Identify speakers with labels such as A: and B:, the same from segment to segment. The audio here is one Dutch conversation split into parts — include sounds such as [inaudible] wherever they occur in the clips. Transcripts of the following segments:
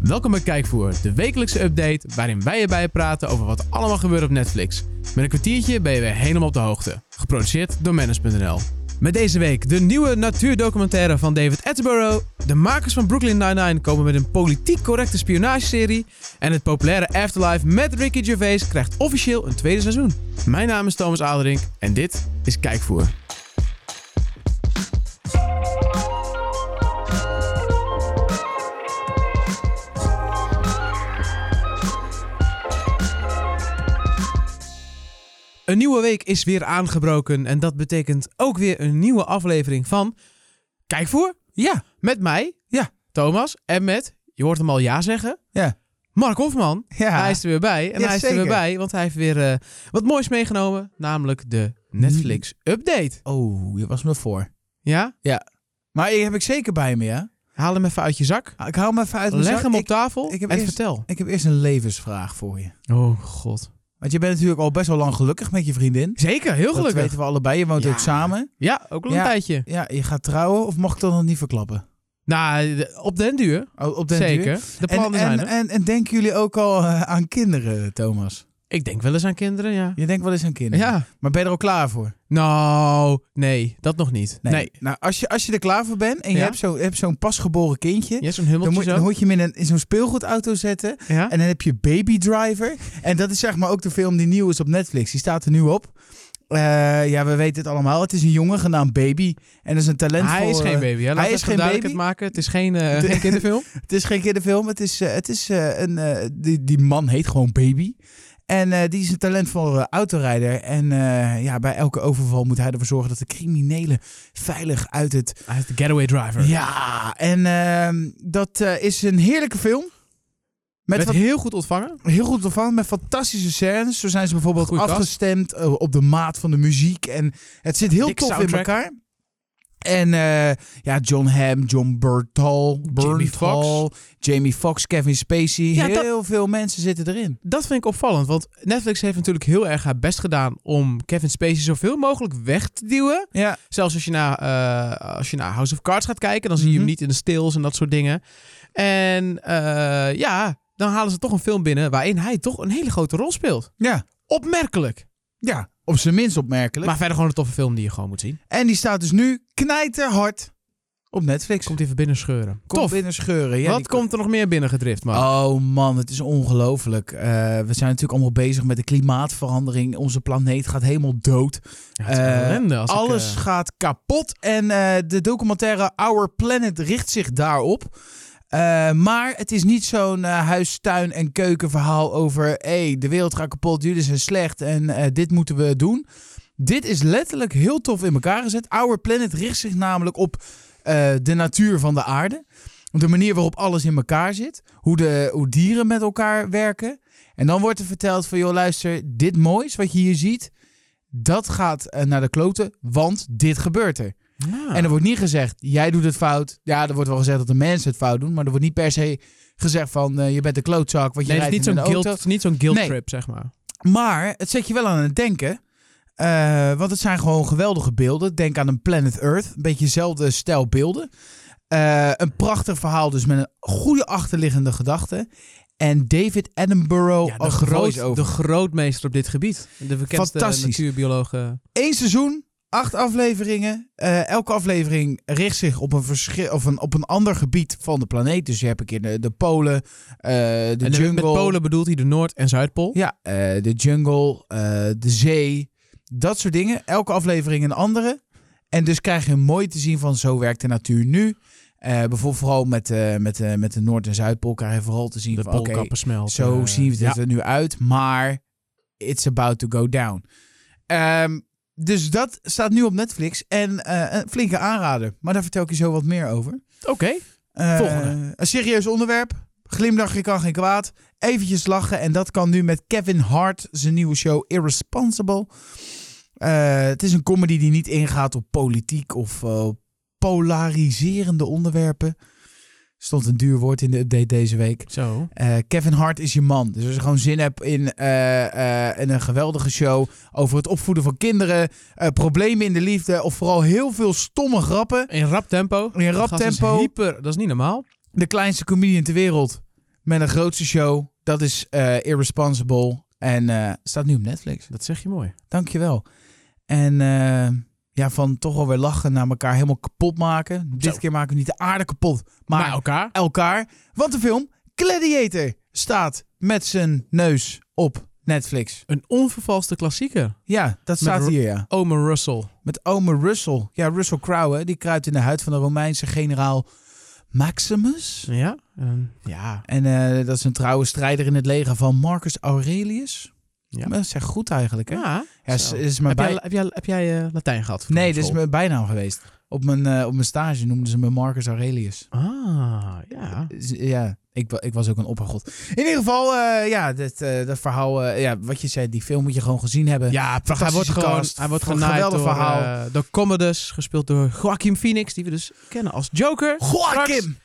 A: Welkom bij Kijkvoer, de wekelijkse update waarin wij erbij praten over wat allemaal gebeurt op Netflix. Met een kwartiertje ben je weer helemaal op de hoogte. Geproduceerd door Manus.nl. Met deze week de nieuwe natuurdocumentaire van David Attenborough. De makers van Brooklyn Nine-Nine komen met een politiek correcte spionageserie. En het populaire Afterlife met Ricky Gervais krijgt officieel een tweede seizoen. Mijn naam is Thomas Aderink en dit is Kijkvoer. Een nieuwe week is weer aangebroken en dat betekent ook weer een nieuwe aflevering van Kijk voor.
B: Ja,
A: Met mij,
B: Ja.
A: Thomas en met, je hoort hem al ja zeggen,
B: ja,
A: Mark Hofman.
B: ja.
A: Hij is er weer bij en
B: Ja,
A: hij is er
B: zeker.
A: weer bij, want hij heeft weer eh, wat moois meegenomen, namelijk de Netflix update.
B: Oh, je was me voor.
A: Ja,
B: Maar die heb ik zeker bij me, ja. Nou,
A: haal hem even uit je zak,
B: Ik hou hem even uit mijn
A: leg
B: zak.
A: hem op
B: Ik,
A: tafel
B: ik heb
A: en
B: eerst-
A: vertel.
B: ik heb eerst een levensvraag voor je.
A: Oh god.
B: Want je bent natuurlijk al best wel lang gelukkig met je vriendin.
A: Zeker, heel
B: Dat
A: gelukkig.
B: weten we allebei. Je woont
A: Ja.
B: ook samen.
A: Ja, ook al een
B: Ja.
A: tijdje.
B: Ja, je gaat trouwen of mocht ik dat nog niet verklappen?
A: Nou, de- op den duur,
B: Oh, op den
A: zeker.
B: duur.
A: De
B: En,
A: plannen zijn
B: en,
A: er.
B: en, en denken jullie ook al eh, aan kinderen, Thomas?
A: Ik denk wel eens aan kinderen, ja.
B: Je denkt wel eens aan kinderen.
A: Ja.
B: Maar ben je er al klaar voor?
A: Nou, nee, dat nog niet. Nee.
B: Nou, als je, als je er klaar voor bent en je
A: Ja.
B: hebt zo'n hebt zo'n pasgeboren kindje...
A: Je hebt zo'n
B: Dan
A: hummeltje
B: moet, dan
A: zo.
B: moet je hem in, een- in zo'n speelgoedauto zetten.
A: Ja?
B: En dan heb je Baby Driver. En dat is zeg maar ook de film die nieuw is op Netflix. Die staat er nu op. Eh, ja, we weten het allemaal. Het is een jongen genaamd Baby. En dat is een talentvol...
A: Hij is geen
B: eh,
A: baby. Hè? Laat
B: hij is
A: even
B: geen
A: duidelijk
B: baby.
A: Het maken. Het is geen,
B: [laughs]
A: eh, geen kinderfilm.
B: het is geen kinderfilm. Het is, eh, het is eh, een... eh, die, die man heet gewoon Baby. En eh, die is een talentvolle autorijder. En eh, ja, bij elke overval moet hij ervoor zorgen dat de criminelen veilig uit het...
A: Hij is de getaway driver.
B: Ja, en ehm, dat eh, is een heerlijke film.
A: Met
B: Met wat
A: heel goed ontvangen.
B: Heel goed ontvangen met fantastische scènes. Zo zijn ze bijvoorbeeld
A: Goeie kast.
B: afgestemd eh, op de maat van de muziek. En het zit heel
A: Dik
B: tof
A: soundtrack.
B: in elkaar. En eh, ja, John Hamm, John Bertal,
A: Jamie
B: Bernthal, Jamie Foxx, Kevin Spacey.
A: Ja, dat-
B: heel veel mensen zitten erin.
A: Dat vind ik opvallend. Want Netflix heeft natuurlijk heel erg haar best gedaan om Kevin Spacey zoveel mogelijk weg te duwen.
B: Ja,
A: Zelfs als je naar, eh, als je naar House of Cards gaat kijken, dan zie je hem
B: Mhm.
A: niet in de stills en dat soort dingen. En eh, ja, dan halen ze toch een film binnen waarin hij toch een hele grote rol speelt.
B: ja,
A: Opmerkelijk.
B: ja. Op zijn minst opmerkelijk.
A: Maar verder gewoon een toffe film die je gewoon moet zien.
B: En die staat dus nu knijterhard op Netflix.
A: Komt even binnen scheuren.
B: Komt
A: Tof.
B: binnen scheuren. Ja,
A: Wat
B: die-
A: komt er nog meer binnengedrift, man?
B: Oh man, het is ongelooflijk. Eh, we zijn natuurlijk allemaal bezig met de klimaatverandering. Onze planeet gaat helemaal dood.
A: Ja, het is
B: eh,
A: ellende als ik,
B: Alles
A: eh,
B: gaat kapot. En eh, de documentaire Our Planet richt zich daarop. Eh, maar het is niet zo'n eh, huis, tuin en keuken verhaal over... hé, hey, de wereld gaat kapot, jullie zijn slecht en eh, dit moeten we doen. Dit is letterlijk heel tof in elkaar gezet. Our Planet richt zich namelijk op eh, de natuur van de aarde. Op de manier waarop alles in elkaar zit. Hoe, de, hoe dieren met elkaar werken. En dan wordt er verteld van, joh, luister, dit moois wat je hier ziet... dat gaat eh, naar de kloten, want dit gebeurt er.
A: ja.
B: En er wordt niet gezegd, jij doet het fout. Ja, er wordt wel gezegd dat de mensen het fout doen. Maar er wordt niet per se gezegd van, eh, je bent een klootzak, want je
A: nee, het is
B: rijdt
A: niet
B: in
A: zo'n
B: een auto.
A: guilt, niet zo'n guilt
B: Nee.
A: trip, zeg maar.
B: Maar het zet je wel aan het denken. Eh, want het zijn gewoon geweldige beelden. Denk aan een Planet Earth. Een beetje dezelfde stijl beelden. Eh, een prachtig verhaal dus met een goede achterliggende gedachte. En David Attenborough
A: de,
B: als
A: groot,
B: Oh, voice-over.
A: de grootmeester op dit gebied. De bekendste
B: Fantastisch.
A: natuurbioloog. eh,
B: Eén seizoen, acht afleveringen. Eh, elke aflevering richt zich op een, verschil, of een, op een ander gebied van de planeet. Dus je hebt een keer de, de Polen, eh, de
A: en
B: jungle.
A: met Polen bedoelt hij de Noord- en Zuidpool.
B: Ja, eh, de jungle, eh, de zee, dat soort dingen. Elke aflevering een andere. En dus krijg je mooi te zien van zo werkt de natuur nu. Eh, bijvoorbeeld vooral met, eh, met, eh, met de Noord- en Zuidpool krijg je vooral te zien
A: De
B: van oké,
A: poolkappen smelten.
B: zo
A: eh,
B: zien we
A: ja.
B: het er nu uit, maar it's about to go down. Ehm, dus dat staat nu op Netflix en eh, een flinke aanrader. Maar daar vertel ik je zo wat meer over.
A: Oké.
B: Eh,
A: Volgende.
B: Een serieus onderwerp. Glimlachje kan geen kwaad. Eventjes lachen. En dat kan nu met Kevin Hart, zijn nieuwe show Irresponsible. Eh, het is een comedy die niet ingaat op politiek of eh, polariserende onderwerpen. Stond een duur woord in de update deze week.
A: Zo.
B: Eh, Kevin Hart is je man. Dus als je gewoon zin hebt in, eh, eh, in een geweldige show over het opvoeden van kinderen, eh, problemen in de liefde of vooral heel veel stomme grappen.
A: In rap tempo.
B: In rap
A: Dat gast is
B: tempo.
A: hyper, dat is niet normaal.
B: De kleinste comedian ter wereld met een grootste show. Dat is eh, Irresponsible. En eh, staat nu op Netflix.
A: Dat zeg je mooi.
B: Dankjewel. En eh, ja, van toch alweer lachen naar elkaar helemaal kapot maken. Dit keer maken we niet de aarde kapot, maar
A: Maar elkaar.
B: elkaar. Want de film Gladiator staat met zijn neus op Netflix.
A: Een onvervalste klassieker.
B: Ja, dat
A: Met
B: staat
A: Ro-
B: hier, ja.
A: Omer Russell.
B: Met ome Russell. Ja, Russell Crowe, hè, die kruipt in de huid van de Romeinse generaal Maximus.
A: Ja? ehm, ja.
B: En eh, dat is een trouwe strijder in het leger van Marcus Aurelius.
A: Ja.
B: Ja. Dat is echt goed eigenlijk, hè? Ja,
A: Ja.
B: is,
A: zo.
B: is mijn
A: heb,
B: bij...
A: jij, heb jij, heb jij eh, Latijn gehad? voor
B: Nee,
A: op
B: dit is
A: school?
B: mijn bijnaam geweest. Op mijn, eh, op mijn stage noemden ze me Marcus Aurelius.
A: Ah, ja.
B: Z- Ja, ik, wa- ik was ook een oppergod. In ieder geval, eh, ja, dit, eh, dat verhaal... eh, ja, wat je zei, die film moet je gewoon gezien hebben.
A: Ja, hij wordt
B: fantastische
A: gewoon
B: cast.
A: hij wordt
B: Wat een
A: genaaid
B: geweldig
A: door,
B: verhaal.
A: eh, door Commodus, gespeeld door Joaquin Phoenix, die we dus kennen als Joker.
B: Joachim!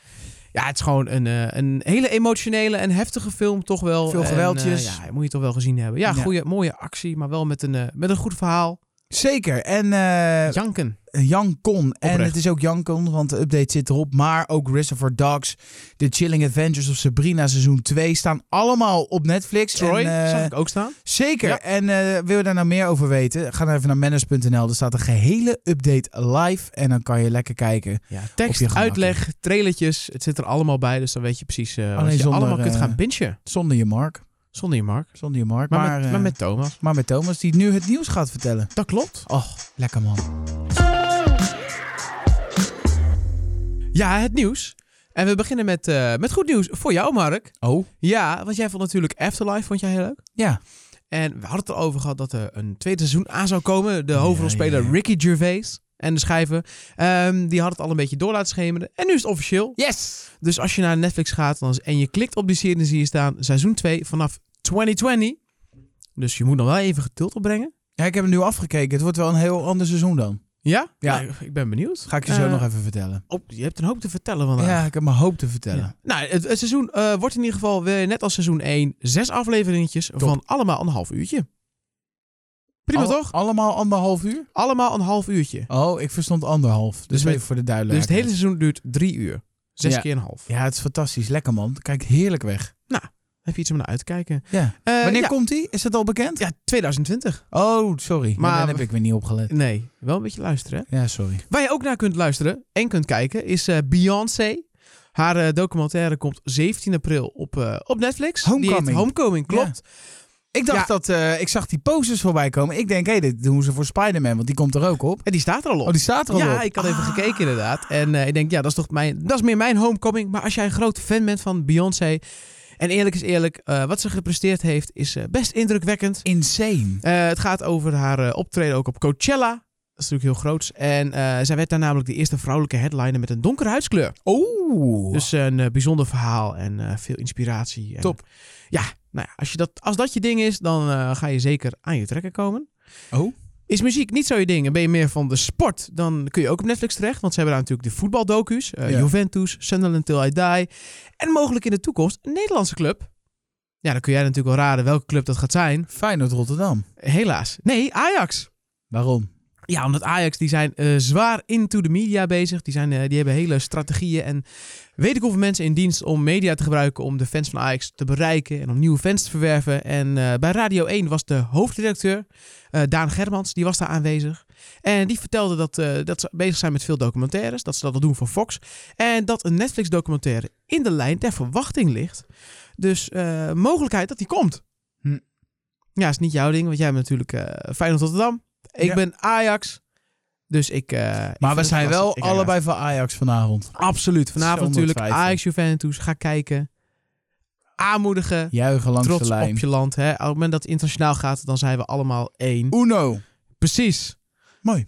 A: Ja, het is gewoon een, eh, een hele emotionele en heftige film, toch wel.
B: Veel
A: En, eh,
B: geweldjes.
A: ja, moet je toch wel gezien hebben. Ja,
B: Ja.
A: goede, mooie actie, maar wel met een, eh, met een goed verhaal.
B: Zeker. En eh,
A: Janken.
B: Jan Kon. En
A: Oprecht.
B: het is ook Jan Kon, want de update zit erop. Maar ook Reservoir Dogs, The Chilling Adventures of Sabrina seizoen 2 staan allemaal op Netflix.
A: Troy,
B: En, eh,
A: zag ik ook staan.
B: Zeker.
A: Ja.
B: En eh, wil je daar nou meer over weten? Ga dan even naar manners.nl. Er staat een gehele update live. En dan kan je lekker kijken.
A: Ja,
B: je
A: tekst,
B: gemak.
A: uitleg, trailertjes, het zit er allemaal bij. Dus dan weet je precies eh wat
B: Alleen
A: je
B: zonder,
A: allemaal kunt
B: eh,
A: gaan bingen.
B: Zonder je Mark.
A: Zonder je Mark.
B: Zonder je Mark.
A: Maar,
B: Maar,
A: met,
B: eh,
A: maar met Thomas.
B: maar met Thomas, die nu het nieuws gaat vertellen.
A: Dat klopt.
B: Oh, lekker man.
A: Ja, het nieuws. En we beginnen met, eh, met goed nieuws voor jou, Mark.
B: Oh.
A: Ja, want jij vond natuurlijk Afterlife vond jij heel leuk.
B: Ja.
A: En we hadden het erover gehad dat er een tweede seizoen aan zou komen. De hoofdrolspeler
B: ja, ja.
A: Ricky Gervais en de schrijver, ehm, die had het al een beetje door laten schemeren. En nu is het officieel.
B: Yes!
A: Dus als je naar Netflix gaat dan is- en je klikt op die serie, dan zie je staan seizoen 2 vanaf 2020. Dus je moet nog wel even geduld opbrengen.
B: Ja, ik heb hem nu afgekeken. Het wordt wel een heel ander seizoen dan.
A: Ja?
B: Ja.
A: Nou, ik ben benieuwd.
B: Ga ik je zo
A: Eh,
B: nog even vertellen.
A: op, je hebt een hoop te vertellen vandaag.
B: Ja, ik heb mijn hoop te vertellen.
A: Ja. Nou, het, het seizoen eh, wordt in ieder geval weer net als seizoen 1 zes afleveringetjes van allemaal een half uurtje. Prima
B: Al-
A: toch?
B: Allemaal anderhalf uur?
A: Allemaal een half uurtje.
B: Oh, ik verstond anderhalf. Dus,
A: Dus met-
B: even voor de
A: Dus
B: duidelijkheid.
A: het hele seizoen duurt drie uur. Zes
B: Ja.
A: keer een half.
B: Ja, het is fantastisch. Lekker man. Kijk heerlijk weg.
A: Heb je iets om naar uit te kijken?
B: Ja.
A: Eh,
B: Wanneer
A: ja,
B: komt die? Is dat al bekend?
A: ja, 2020.
B: Oh, sorry.
A: Maar-
B: Maar dan heb ik weer niet opgelet.
A: Nee, wel een beetje luisteren. hè?
B: Ja, sorry.
A: Waar je ook naar kunt luisteren en kunt kijken is eh, Beyoncé. Haar eh, documentaire komt 17 april op, eh, op Netflix. Die heet
B: Homecoming.
A: Homecoming, klopt.
B: Ik dacht
A: Ja.
B: dat eh, ik zag die posters voorbij komen. Ik denk, hé, dit doen ze voor Spider-Man, want die komt er ook op.
A: En die staat er al op.
B: Oh, die staat er al op. Ah.
A: ja, ik had even gekeken inderdaad. En eh, ik denk, ja, dat is toch mijn, dat is meer mijn homecoming. Maar als jij een groot fan bent van Beyoncé. En eerlijk is eerlijk, eh, wat ze gepresteerd heeft is eh, best indrukwekkend.
B: Insane.
A: Eh, het gaat over haar eh, optreden ook op Coachella. Dat is natuurlijk heel groots. En eh, zij werd daar namelijk de eerste vrouwelijke headliner met een donkere huidskleur.
B: Oeh.
A: Dus eh, een eh, bijzonder verhaal en eh, veel inspiratie. En,
B: Top.
A: ja, nou ja, als, je dat, als dat je ding is, dan eh, ga je zeker aan je trekken komen.
B: Oh.
A: Is muziek niet zo je ding en ben je meer van de sport, dan kun je ook op Netflix terecht. Want ze hebben daar natuurlijk de voetbaldocu's. eh,
B: Ja.
A: Juventus, Sunderland Till I Die. En mogelijk in de toekomst een Nederlandse club. Ja, dan kun jij natuurlijk wel raden welke club dat gaat zijn.
B: Feyenoord Rotterdam.
A: Helaas. Nee, Ajax.
B: Waarom?
A: Ja, omdat Ajax, die zijn eh, zwaar into de media bezig. Die, zijn, eh, die hebben hele strategieën en weet ik hoeveel mensen in dienst om media te gebruiken om de fans van Ajax te bereiken en om nieuwe fans te verwerven. En eh, bij Radio 1 was de hoofdredacteur, eh, Daan Germans, die was daar aanwezig. En die vertelde dat, eh, dat ze bezig zijn met veel documentaires, dat ze dat al doen voor Fox. En dat een Netflix documentaire in de lijn der verwachting ligt. Dus eh, mogelijkheid dat die komt.
B: Hm.
A: Ja, is niet jouw ding, want jij bent natuurlijk eh Feyenoord Rotterdam. Ik
B: Ja.
A: ben Ajax. Dus ik. eh, ik vind
B: Maar we
A: het
B: zijn
A: lastig.
B: wel
A: Ik-
B: allebei van Ajax vanavond.
A: Absoluut. Vanavond
B: Zonder
A: natuurlijk
B: twijfel.
A: Ajax Juventus. Ga kijken. Aanmoedigen.
B: Juichen langs de
A: trots op
B: lijn.
A: je land. Hè. Op het moment dat het internationaal gaat, dan zijn we allemaal één.
B: Uno.
A: Precies.
B: Mooi.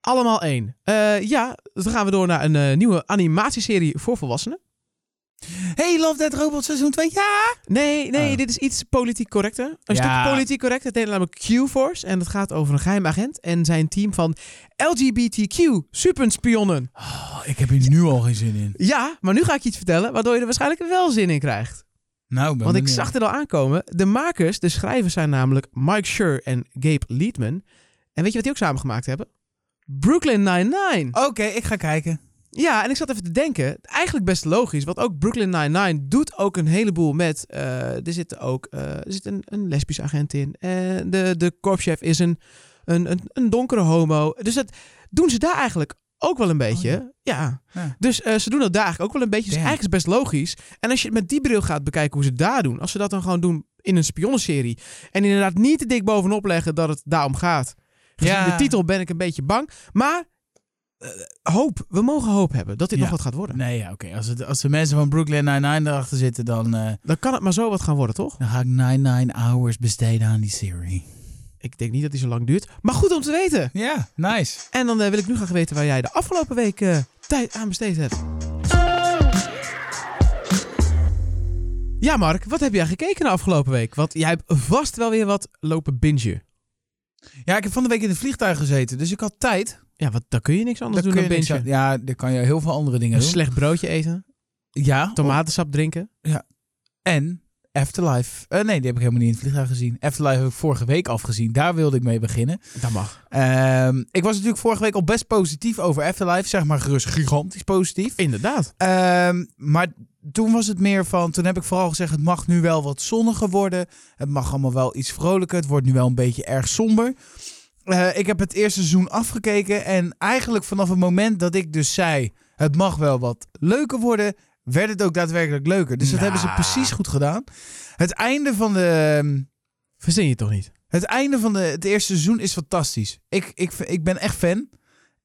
A: Allemaal één. Eh, ja, dan gaan we door naar een eh, nieuwe animatieserie voor volwassenen.
B: Hey, Love Dead Robot seizoen 2. Ja!
A: Nee, nee,
B: Oh.
A: dit is iets politiek correcter. Een
B: Ja.
A: stuk politiek correct. Het heet namelijk Q-Force. En het gaat over een geheim agent en zijn team van LGBTQ superspionnen.
B: Oh, ik heb hier nu al geen zin in.
A: Ja, maar nu ga ik je iets vertellen waardoor je er waarschijnlijk wel zin in krijgt.
B: Nou, ben
A: Want ik
B: benieuwd.
A: zag het al aankomen. De makers, de schrijvers zijn namelijk Mike Schur en Gabe Liedman. En weet je wat die ook samen gemaakt hebben? Brooklyn Nine-Nine.
B: Oké, ik ga kijken.
A: Ja, en ik zat even te denken. Eigenlijk best logisch, want ook Brooklyn Nine-Nine doet ook een heleboel met... eh, er zit ook eh, er zit een, een lesbisch agent in. En de, de korpschef is een, een, een, een donkere homo. Dus dat doen ze daar eigenlijk ook wel een beetje. ja.
B: Oh, Ja.
A: Dus eh, ze doen dat daar eigenlijk ook wel een beetje. Dus
B: Damn.
A: eigenlijk is het best logisch. En als je het met die bril gaat bekijken hoe ze het daar doen... als ze dat dan gewoon doen in een spionnenserie... en inderdaad niet te dik bovenop leggen dat het daarom gaat... Gezien
B: Ja.
A: de titel ben ik een beetje bang. Maar eh, hoop. We mogen hoop hebben dat dit
B: Ja.
A: nog wat gaat worden.
B: Nee, ja, oké. Als, het- als de mensen van Brooklyn Nine-Nine erachter zitten, dan, eh,
A: Dan kan het maar zo wat gaan worden, toch?
B: dan ga ik 99 hours besteden aan die serie.
A: Ik denk niet dat die zo lang duurt. Maar goed om te weten.
B: Ja, nice.
A: En dan eh, wil ik nu graag weten waar jij de afgelopen week eh, tijd aan besteed hebt. Ja, Mark, wat heb jij gekeken de afgelopen week? Want jij hebt vast wel weer wat lopen bingen.
B: Ja, ik heb van de week in het vliegtuig gezeten, dus ik had tijd.
A: Ja, want daar kun je niks anders
B: Dan
A: doen
B: kun
A: dan
B: je niks
A: bingen.
B: aan- Ja, dan kan je heel veel andere dingen
A: Een
B: doen.
A: slecht broodje eten,
B: Ja,
A: tomatensap drinken.
B: En Afterlife. Eh, nee, die heb ik helemaal niet in het vliegtuig gezien. Afterlife heb ik vorige week afgezien. Daar wilde ik mee beginnen.
A: Dat mag.
B: Ehm, ik was natuurlijk vorige week al best positief over Afterlife. Zeg maar gerust gigantisch positief.
A: Inderdaad.
B: Ehm, maar toen was het meer van... Toen heb ik vooral gezegd, het mag nu wel wat zonniger worden. Het mag allemaal wel iets vrolijker. Het wordt nu wel een beetje erg somber. Eh, ik heb het eerste seizoen afgekeken. En eigenlijk vanaf het moment dat ik dus zei... het mag wel wat leuker worden... werd het ook daadwerkelijk leuker. Dus dat
A: Nou.
B: hebben ze precies goed gedaan. Het einde van de... ehm,
A: Verzin je toch niet?
B: Het einde van de, het eerste seizoen is fantastisch. Ik, ik, ik ben echt fan.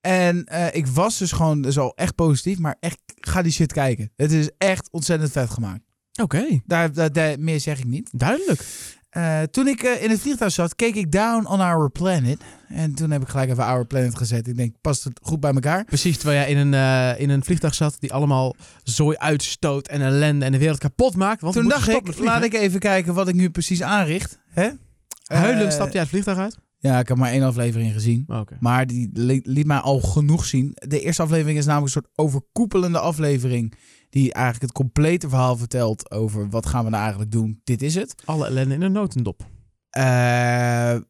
B: En eh, ik was dus gewoon dus al echt positief. Maar echt, ga die shit kijken. Het is echt ontzettend vet gemaakt.
A: Oké,
B: Daar, daar, daar- meer zeg ik niet.
A: duidelijk.
B: Eh, toen ik eh, in het vliegtuig zat, keek ik Down on Our Planet. En toen heb ik gelijk even Our Planet gezet. Ik denk, past het goed bij elkaar?
A: Precies, terwijl jij in een, eh, in een vliegtuig zat die allemaal zooi uitstoot en ellende en de wereld kapot maakt. Want we
B: toen
A: moeten
B: dacht
A: stoppen
B: ik,
A: met vliegen.
B: laat ik even kijken wat ik nu precies aanricht. Hè?
A: Huilend
B: Eh, Oh,
A: stapte jij het vliegtuig uit?
B: Ja, ik heb maar één aflevering gezien.
A: Oké.
B: Maar die li- liet mij al genoeg zien. De eerste aflevering is namelijk een soort overkoepelende aflevering. Die eigenlijk het complete verhaal vertelt over wat gaan we nou eigenlijk doen. Dit is het.
A: Alle ellende in een notendop.
B: Eh,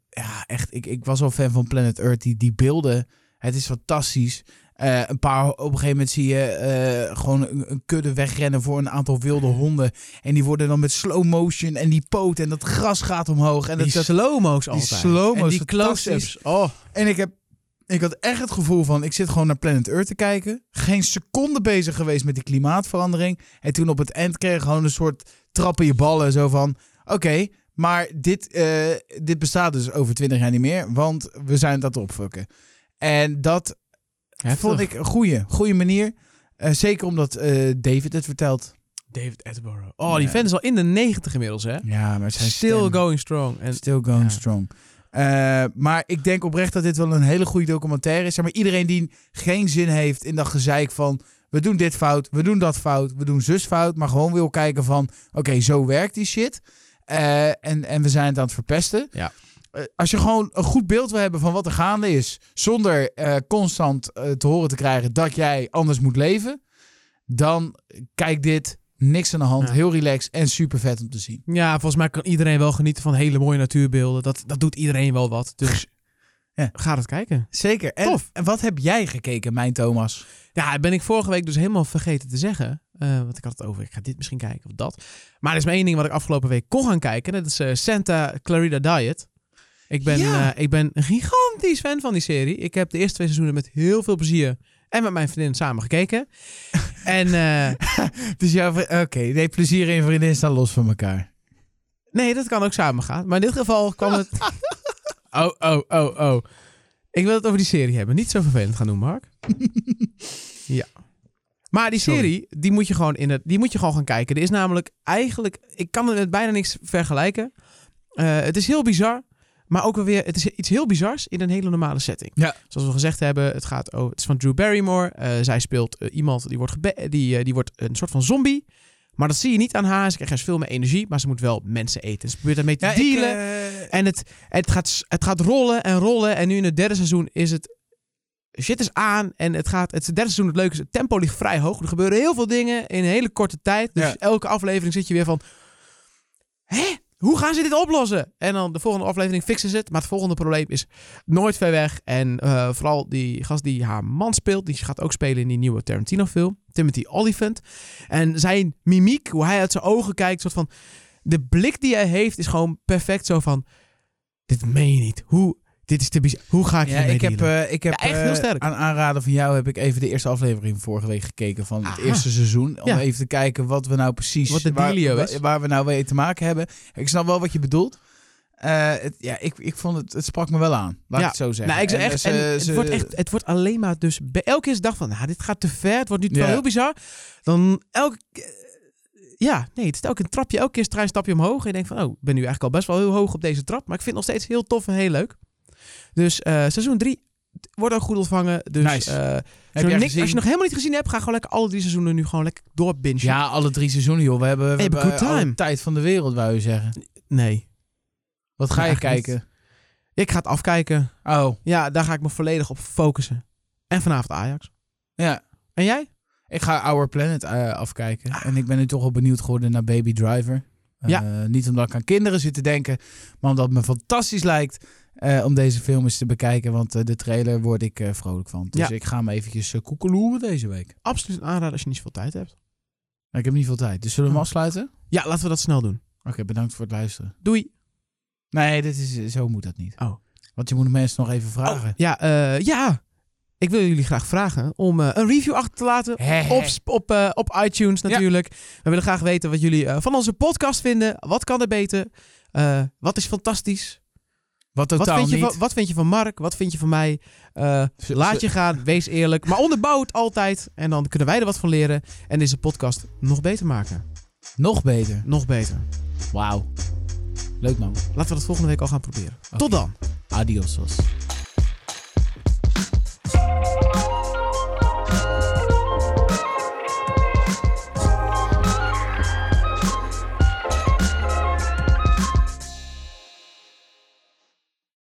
B: ja, echt. Ik, ik was al fan van Planet Earth. Die, die beelden. Het is fantastisch. Eh, een paar, op een gegeven moment zie je eh, gewoon een, een kudde wegrennen voor een aantal wilde honden. En die worden dan met slow motion en die poot en dat gras gaat omhoog. En
A: En die
B: dat, dat-
A: slow-mo's
B: die
A: altijd.
B: slow-mo's,
A: En die
B: fantastisch.
A: close-ups. Oh,
B: En ik, heb, ik had echt het gevoel van, ik zit gewoon naar Planet Earth te kijken. Geen seconde bezig geweest met die klimaatverandering. En toen op het eind kreeg ik gewoon een soort trap in je ballen. Zo van, oké, maar dit, eh, dit bestaat dus over twintig jaar niet meer. Want we zijn dat opfukken. En dat
A: heftig.
B: vond ik een goede, goede manier. Eh, zeker omdat eh, David het vertelt.
A: David Attenborough. Oh, die
B: Ja.
A: vent is al in de 90 inmiddels, hè?
B: Ja, maar zijn
A: Still
B: stem-
A: going strong. En
B: Still going
A: Ja.
B: strong. Eh, maar ik denk oprecht dat dit wel een hele goede documentaire is. Zeg maar iedereen die geen zin heeft in dat gezeik van... we doen dit fout, we doen dat fout, we doen zus fout... maar gewoon wil kijken van, oké, zo werkt die shit. Eh, en, en we zijn het aan het verpesten.
A: Ja.
B: Eh, als je gewoon een goed beeld wil hebben van wat er gaande is... zonder eh, constant eh, te horen te krijgen dat jij anders moet leven... dan kijk dit, niks aan de hand,
A: Ja.
B: heel relaxed en super vet om te zien.
A: ja, volgens mij kan iedereen wel genieten van hele mooie natuurbeelden. Dat, dat doet iedereen wel wat. Dus
B: [laughs] Ja.
A: ga dat kijken.
B: Zeker. En,
A: Tof.
B: en wat heb jij gekeken, mijn Thomas?
A: Ja, ben ik vorige week dus helemaal vergeten te zeggen. Eh, want ik had het over, ik ga dit misschien kijken of dat. Maar er is maar één ding wat ik afgelopen week kon gaan kijken. Dat is eh, Santa Clarita Diet. Ik ben,
B: Ja.
A: eh, ik ben een gigantisch fan van die serie. Ik heb de eerste twee seizoenen met heel veel plezier en met mijn vriendin samen gekeken. en eh,
B: Dus jouw vri- Oké, nee, plezier en vriendin staan los van elkaar.
A: nee, dat kan ook samen gaan. Maar in dit geval kwam het... oh, oh, oh, oh. Ik wil het over die serie hebben. Niet zo vervelend gaan doen, Mark. Maar die
B: Sorry.
A: serie, die moet, je gewoon in het, die moet je gewoon gaan kijken. Er is namelijk eigenlijk... Ik kan het met bijna niks vergelijken. Eh, het is heel bizar. Maar ook wel weer, het is iets heel bizars in een hele normale setting.
B: Ja.
A: Zoals we gezegd hebben, het, gaat over, het is van Drew Barrymore. Eh, zij speelt eh, iemand die wordt, gebe- die, eh, die wordt een soort van zombie. Maar dat zie je niet aan haar. Ze krijgt juist veel meer energie, maar ze moet wel mensen eten. Ze probeert daarmee te dealen.
B: eh,
A: En het, het, gaat, s- het gaat rollen en rollen. En nu in het derde seizoen is het. Shit is aan. En het gaat. Het derde seizoen, het leuke is. Het tempo ligt vrij hoog. Er gebeuren heel veel dingen in een hele korte tijd. Dus
B: Ja.
A: elke aflevering zit je weer van. Hè? Hoe gaan ze dit oplossen? En dan de volgende aflevering fixen ze het. Maar het volgende probleem is nooit ver weg. En eh, vooral die gast die haar man speelt. Die gaat ook spelen in die nieuwe Tarantino film. Timothy Olyphant. En zijn mimiek, hoe hij uit zijn ogen kijkt. Soort van, de blik die hij heeft is gewoon perfect. Zo van, dit meen je niet. Hoe, dit is te bizar. Hoe ga ik
B: Ja,
A: hiermee
B: ik heb,
A: dealen?
B: eh, ik heb
A: Ja, echt heel
B: eh,
A: sterk.
B: aan aanraden van jou heb ik even de eerste aflevering vorige week gekeken van
A: Aha.
B: het eerste seizoen. Om
A: Ah. Ja.
B: even te kijken wat we nou precies
A: Wat de dealio
B: waar,
A: is.
B: wa- waar we nou mee te maken hebben. Ik snap wel wat je bedoelt. Eh, het, ja, ik, ik vond het, het sprak me wel aan.
A: Ja.
B: Laat ik het zo zeggen.
A: Nou, ik zeg
B: En eh,
A: echt,
B: ze-
A: en het,
B: ze-
A: wordt echt, het wordt alleen maar dus... Bij elke keer is de dag van, nou, dit gaat te ver. Het wordt nu wel
B: Ja.
A: heel bizar. Dan elke... eh, Ja, nee, het is elke keer een trapje. Elke keer is het trein een stapje omhoog. En je denkt van, oh, ik ben nu eigenlijk al best wel heel hoog op deze trap. Maar ik vind het nog steeds heel tof en heel leuk. Dus eh, seizoen 3 wordt ook goed ontvangen. Dus
B: Nice.
A: eh,
B: Heb
A: zo
B: jij
A: niks- als je
B: gezien?
A: nog helemaal niet gezien hebt, ga gewoon lekker alle drie seizoenen nu gewoon lekker doorbingen.
B: Ja, alle drie seizoenen, joh. We hebben, we
A: Hey, but
B: hebben
A: good
B: alle
A: time.
B: tijd van de wereld, wou je zeggen.
A: Nee.
B: Wat ga
A: Ja,
B: je
A: echt niet.
B: kijken?
A: Ik ga het afkijken.
B: Oh,
A: Ja, daar ga ik me volledig op focussen. En vanavond Ajax.
B: ja.
A: En jij?
B: Ik ga Our Planet eh, afkijken.
A: Ah.
B: En ik ben nu toch wel benieuwd geworden naar Baby Driver. Eh, niet omdat ik aan kinderen zit te denken, maar omdat het me fantastisch lijkt eh, om deze film eens te bekijken. Want eh, de trailer word ik eh, vrolijk van. Dus
A: Ja.
B: ik ga hem eventjes eh, koekeloeren deze week.
A: Absoluut een aanrader als je niet zoveel tijd hebt.
B: Ik heb niet veel tijd, dus zullen we hem
A: Oh.
B: afsluiten?
A: Ja, laten we dat snel doen.
B: Oké, bedankt voor het luisteren.
A: Doei.
B: Nee, dit is, eh, zo moet dat niet.
A: Oh.
B: Want je moet de mensen nog even vragen.
A: Oh, ja, eh, ja, ik wil jullie graag vragen om eh, een review achter te laten.
B: Hè, hè.
A: Op, sp- op, eh, op iTunes natuurlijk. We willen graag weten wat jullie eh, van onze podcast vinden. Wat kan er beter? Eh, wat is fantastisch?
B: Wat
A: Wat
B: totaal
A: vind, je
B: niet.
A: van, wat vind je van Mark? Wat vind je van mij? Eh,
B: Z-
A: laat
B: z-
A: je gaan, wees eerlijk. Maar onderbouw het altijd. En dan kunnen wij er wat van leren. En deze podcast nog beter maken.
B: Nog beter.
A: Nog beter.
B: Wauw. Leuk man.
A: Laten we dat volgende week al gaan proberen. Tot dan.
B: Adiosos.